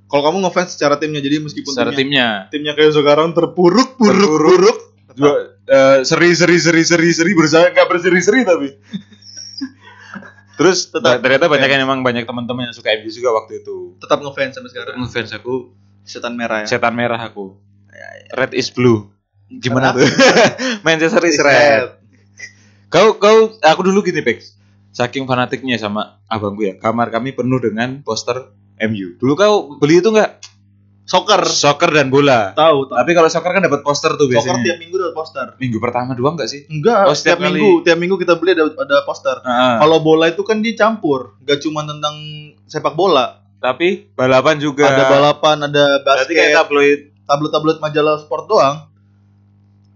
Kalau kamu ngefans secara timnya jadi meskipun
Secara
timnya,
timnya.
timnya kayak sekarang terpuruk, puruk,
Terpuruk.
puruk.
Juga eh, seri seri seri seri seri berusaha nggak berseri-seri tapi. Terus
Tetap.
ternyata banyak yang emang banyak teman-teman yang suka MU juga waktu itu.
tetap ngefans sampai sekarang.
Ngefans aku
Setan merah ya.
setan merah aku. Red is blue. Gimana
Karena
tuh? <laughs> Manchester is red. Kau kau aku dulu gini Pex. Saking fanatiknya sama abangku ya. Kamar kami penuh dengan poster MU. Dulu kau beli itu enggak?
Soccer.
Soccer dan bola.
Tahu, tahu.
Tapi kalau soccer kan dapat poster tuh
Soccer tiap
biasanya.
minggu ada poster.
Minggu pertama doang enggak sih?
Enggak,
Oh, setiap
tiap
kali.
minggu, tiap minggu kita beli ada, ada poster.
Heeh.
Kalau bola itu kan dia campur, gak cuma tentang sepak bola.
Tapi balapan juga.
Ada balapan, ada
Berarti kayak
basket,
tabloid.
tablet-tablet majalah sport doang.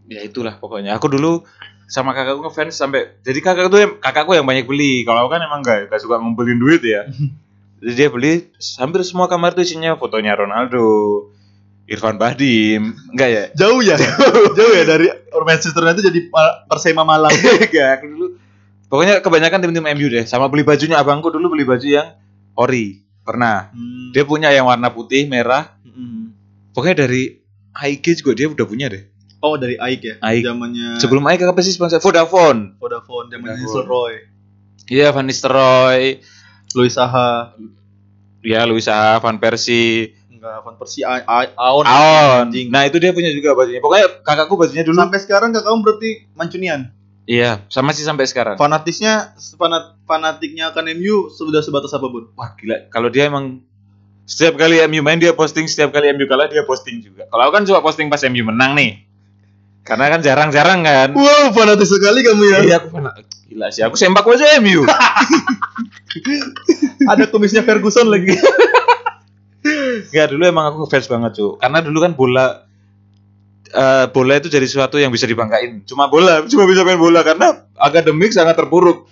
Ya itulah pokoknya. Aku dulu sama kakakku ngefans sampai jadi kakak tuh yang- kakakku yang banyak beli. Kalau aku kan emang enggak enggak suka ngumpulin duit
<laughs>
ya. Jadi dia beli hampir semua kamar tuh isinya fotonya Ronaldo, Irfan Bahdim, enggak ya?
Jauh ya, <laughs> jauh ya dari Manchester United jadi Mal- Persema Malang.
<laughs> Enggak, aku dulu. Pokoknya kebanyakan tim-tim MU deh. Sama beli bajunya abangku dulu beli baju yang ori. Pernah.
Hmm.
Dia punya yang warna putih, merah.
Mm.
Pokoknya dari AIG juga dia udah punya deh.
Oh dari Aik ya,
Aik.
zamannya
Sebelum AIG apa sih sponsor? Vodafone.
Vodafone, zamannya
Vodafone.
Nisleroy,
Iya, Van Nistelrooy.
Luis Saha,
Ya, Luis Saha, Van Persie,
enggak Van Persie, A- A- Aon,
Aon. Nah, itu dia punya juga bajunya. Pokoknya kakakku bajunya dulu.
Sampai sekarang kakak kamu berarti Mancunian.
Iya, sama sih sampai sekarang.
Fanatisnya, fanat, fanatiknya akan MU sudah sebatas apa bun?
Wah, gila. Kalau dia emang setiap kali MU main dia posting, setiap kali MU kalah dia posting juga. Kalau aku kan cuma posting pas MU menang nih. Karena kan jarang-jarang kan.
Wow, fanatis sekali kamu ya.
Iya aku pernah gila sih. Aku sempak aja <laughs> MU.
Ada kumisnya <laughs> Ferguson lagi.
Enggak dulu emang aku ngefans banget cuy. Karena dulu kan bola eh, bola itu jadi sesuatu yang bisa dibanggain. Cuma bola, cuma bisa main bola karena akademik sangat terpuruk.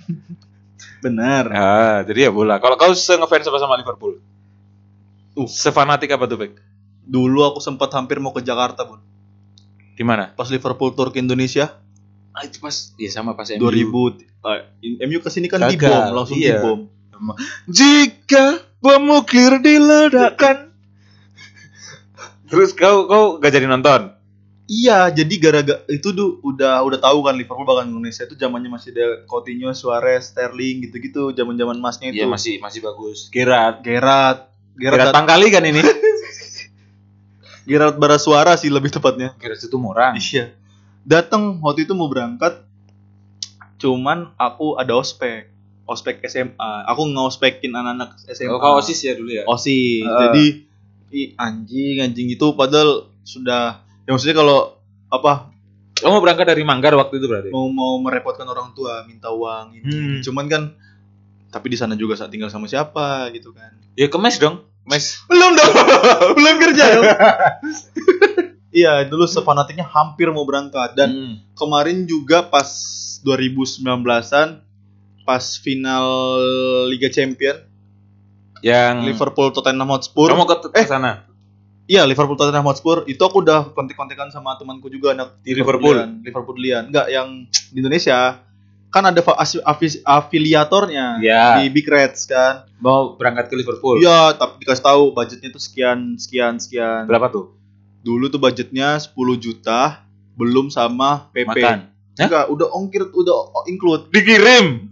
Benar.
Ah, jadi ya bola. Kalau kau se ngefans apa sama Liverpool? Uh, sefanatik apa tuh, Bek?
Dulu aku sempat hampir mau ke Jakarta bun.
Di mana?
Pas Liverpool tour ke Indonesia
Ah, itu pas ya sama pas
2000. eh, MU kesini kan
Gagal.
dibom, langsung
Iya.
dibom.
Jika bomu clear diledakkan. Terus kau kau gak jadi nonton?
Iya, jadi gara-gara itu tuh udah udah tahu kan Liverpool bahkan Indonesia itu zamannya masih ada Coutinho, Suarez, Sterling gitu-gitu, zaman-zaman masnya itu.
masih masih Iya, bagus. Gerard.
Iya, Gerrard, Gerard
Gerard kali kan <laughs> ini.
Gerard Barasuara sih lebih tepatnya.
Gerard itu murah.
Iya. Datang waktu itu mau berangkat. Cuman aku ada ospek. Ospek SMA. Aku ngospekin anak-anak SMA.
Kalau osis ya dulu ya.
OSIS.
Eh.
Jadi i- anjing anjing itu padahal sudah ya maksudnya kalau apa
Oh mau berangkat dari Manggar waktu itu berarti.
mau mau merepotkan orang tua minta uang ini.
Hmm.
Cuman kan tapi di sana juga saat tinggal sama siapa gitu kan.
Ya ke mes dong. Mes.
Belum
<laughs>
dong. Belum kerja dong. Iya, dulu sefanatiknya hampir mau berangkat dan
Hmm.
kemarin juga pas 2019-an pas final Liga Champion
yang
Liverpool Tottenham Hotspur.
Hmm. kamu ke ke sana.
Iya, Liverpool Tottenham Hotspur itu aku udah kontek-kontekan sama temanku juga anak
Di Liverpool?
Liverpoolian. Liverpoolian. Enggak yang di Indonesia. Kan ada fa- as- afis- afiliatornya
Iya.
di Big Reds kan.
Mau berangkat ke Liverpool.
Iya, tapi dikasih tahu budgetnya tuh sekian sekian sekian.
Berapa tuh?
dulu tuh budgetnya 10 juta belum sama PP
Makan. Ya? Hah?
enggak udah ongkir udah o- include
Dikirim.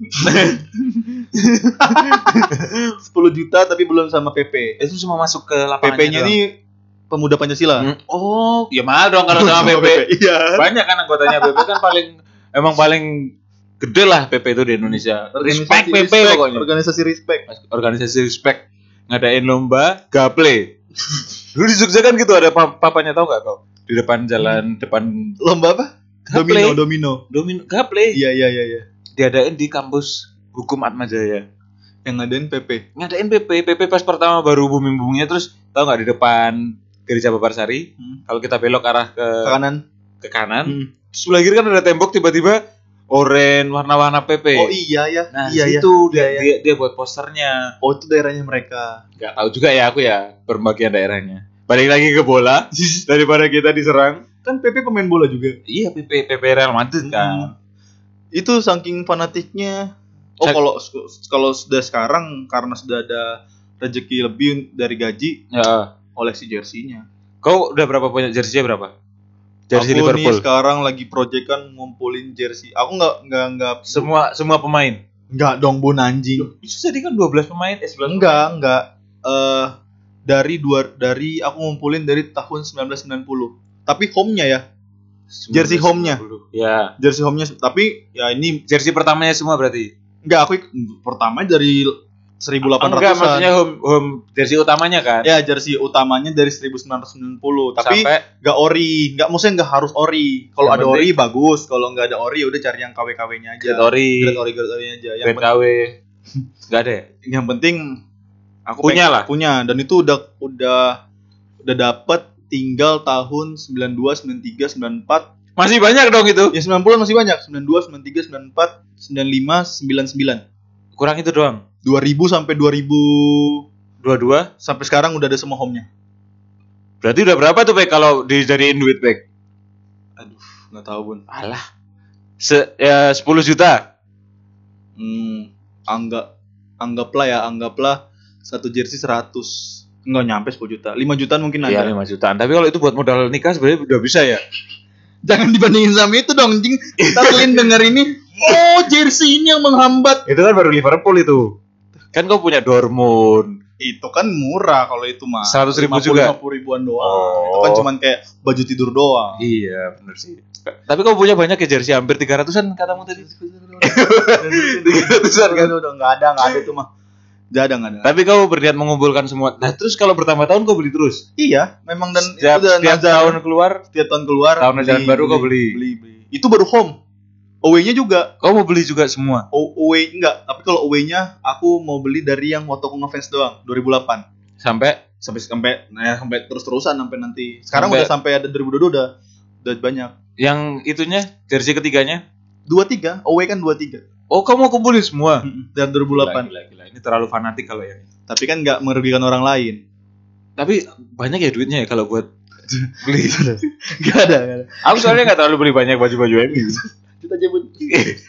10 juta tapi belum sama PP
Itu cuma masuk ke lapangan.
PP-nya ini pemuda <laughs> Pancasila
Oh, ya mahal dong kalau <laughs> sama PP.
iya
Banyak kan anggotanya PP kan paling emang paling gede lah PP itu di Indonesia. Respect
Organisasi
PP
respect,
pokoknya.
organisasi respect
organisasi respect ngadain lomba gaple. Dulu di Jogja kan gitu ada pa- papanya tau gak kau? Di depan jalan depan
lomba apa
Gaple.
domino domino
domino gaple
iya iya iya iya
diadain di kampus hukum Atma Jaya.
yang ngadain PP
Ngadain PP, PP pas pertama baru booming-boomingnya terus tau nggak di depan Gereja Babarsari
Hmm.
kalau kita belok arah ke
ke kanan
ke kanan
Hmm.
sebelah kiri kan ada tembok tiba-tiba oranye warna-warna PP.
oh iya ya
Nah,
iya ya
itu dia,
Iya,
dia dia buat posternya.
oh itu daerahnya mereka
nggak tahu juga ya aku ya berbagian daerahnya balik lagi ke bola <laughs> daripada kita diserang
kan PP pemain bola juga Hmm.
iya PP PP Real Madrid kan
itu saking fanatiknya oh
Cek.
kalau kalau sudah sekarang karena sudah ada rezeki lebih dari gaji
Ya.
koleksi jersinya.
kau udah berapa punya jersey berapa jersey
aku
Liverpool
nih sekarang lagi project kan ngumpulin jersey. Aku nggak nggak nggak
semua semua pemain
nggak dong bun anjing.
itu tadi kan 12 pemain eh 11
Enggak enggak. Eh dari dua dari aku ngumpulin dari tahun 1990. Tapi home-nya ya, jersey home-nya.
ya
Jersey home-nya tapi ya ini
jersey pertamanya semua berarti Oh,
enggak aku ik- pertama dari
enggak
1800-an.
maksudnya home home jersey utamanya kan
Ya jersey utamanya dari 1990, tapi
sampai
nggak ori, nggak maksudnya nggak harus ori. Kalau
Yang
ada
penting-
ori bagus, kalau nggak ada ori udah cari yang KW-KW-nya aja.
Great Ori
Grade ori grade ori aja. Yang,
Great
penting,
KW <laughs> enggak ada ya?
yang penting aku
Punya
pengen-
lah.
Punya dan itu udah udah udah dapet tinggal tahun 92, 93, 94.
masih banyak dong itu
Ya 90 masih banyak. 92, 93, 94, 95, 99.
kurang itu doang
2000 sampai 2000
dua-dua
sampai sekarang udah ada semua home-nya.
berarti udah berapa tuh Pak kalau dijadiin duit Pak
Nggak tahu, Bun.
Alah. Se ya 10 juta.
Hmm, anggap anggaplah ya, anggaplah satu jersey 100. Enggak nyampe 10 juta. 5 jutaan mungkin ada.
Iya 5 jutaan. Tapi kalau itu buat modal nikah sebenarnya udah bisa ya.
Jangan dibandingin sama itu dong, jing. Kita kalian denger
<laughs>
ini, oh jersey ini yang menghambat.
Itu kan baru Liverpool itu. Kan kau punya Dortmund.
Itu kan murah kalau itu mah.
100.000 juga?
50 ribuan doang.
Oh.
Itu kan cuman kayak baju tidur doang.
Iya, benar sih. Tapi kau punya banyak ya jersey hampir 300-an katamu tadi.
Ratusan kan udah enggak ada, enggak ada itu mah. Enggak ada, enggak ada.
Tapi kau berniat mengumpulkan semua. Nah, terus kalau bertambah tahun kau beli terus.
Iya, memang dan itu
setiap,
udah
setiap
nazar.
tahun keluar,
setiap tahun keluar
Tahun ajaran baru kau beli.
Beli, beli. Itu baru home. Away-nya juga
kau mau beli juga semua.
O- away enggak, tapi kalau away-nya aku mau beli dari yang waktu aku ngefans doang, 2008.
Sampai
sampai sampai nah, sampai terus-terusan sampai nanti. Sekarang
Sampai-
udah sampai ada 2022 udah udah banyak.
yang itunya jersey ketiganya.
23, away kan 23
Oh, kau mau kumpulin semua.
dan 2008.
Gila, gila, gila. Ini terlalu fanatik kalau ya. yang ini.
Tapi kan nggak merugikan orang lain. <laughs>
Tapi banyak ya duitnya ya kalau buat beli.
Gak ada, gak ada.
Aku soalnya nggak terlalu beli banyak baju-baju MU.
Kita jemput.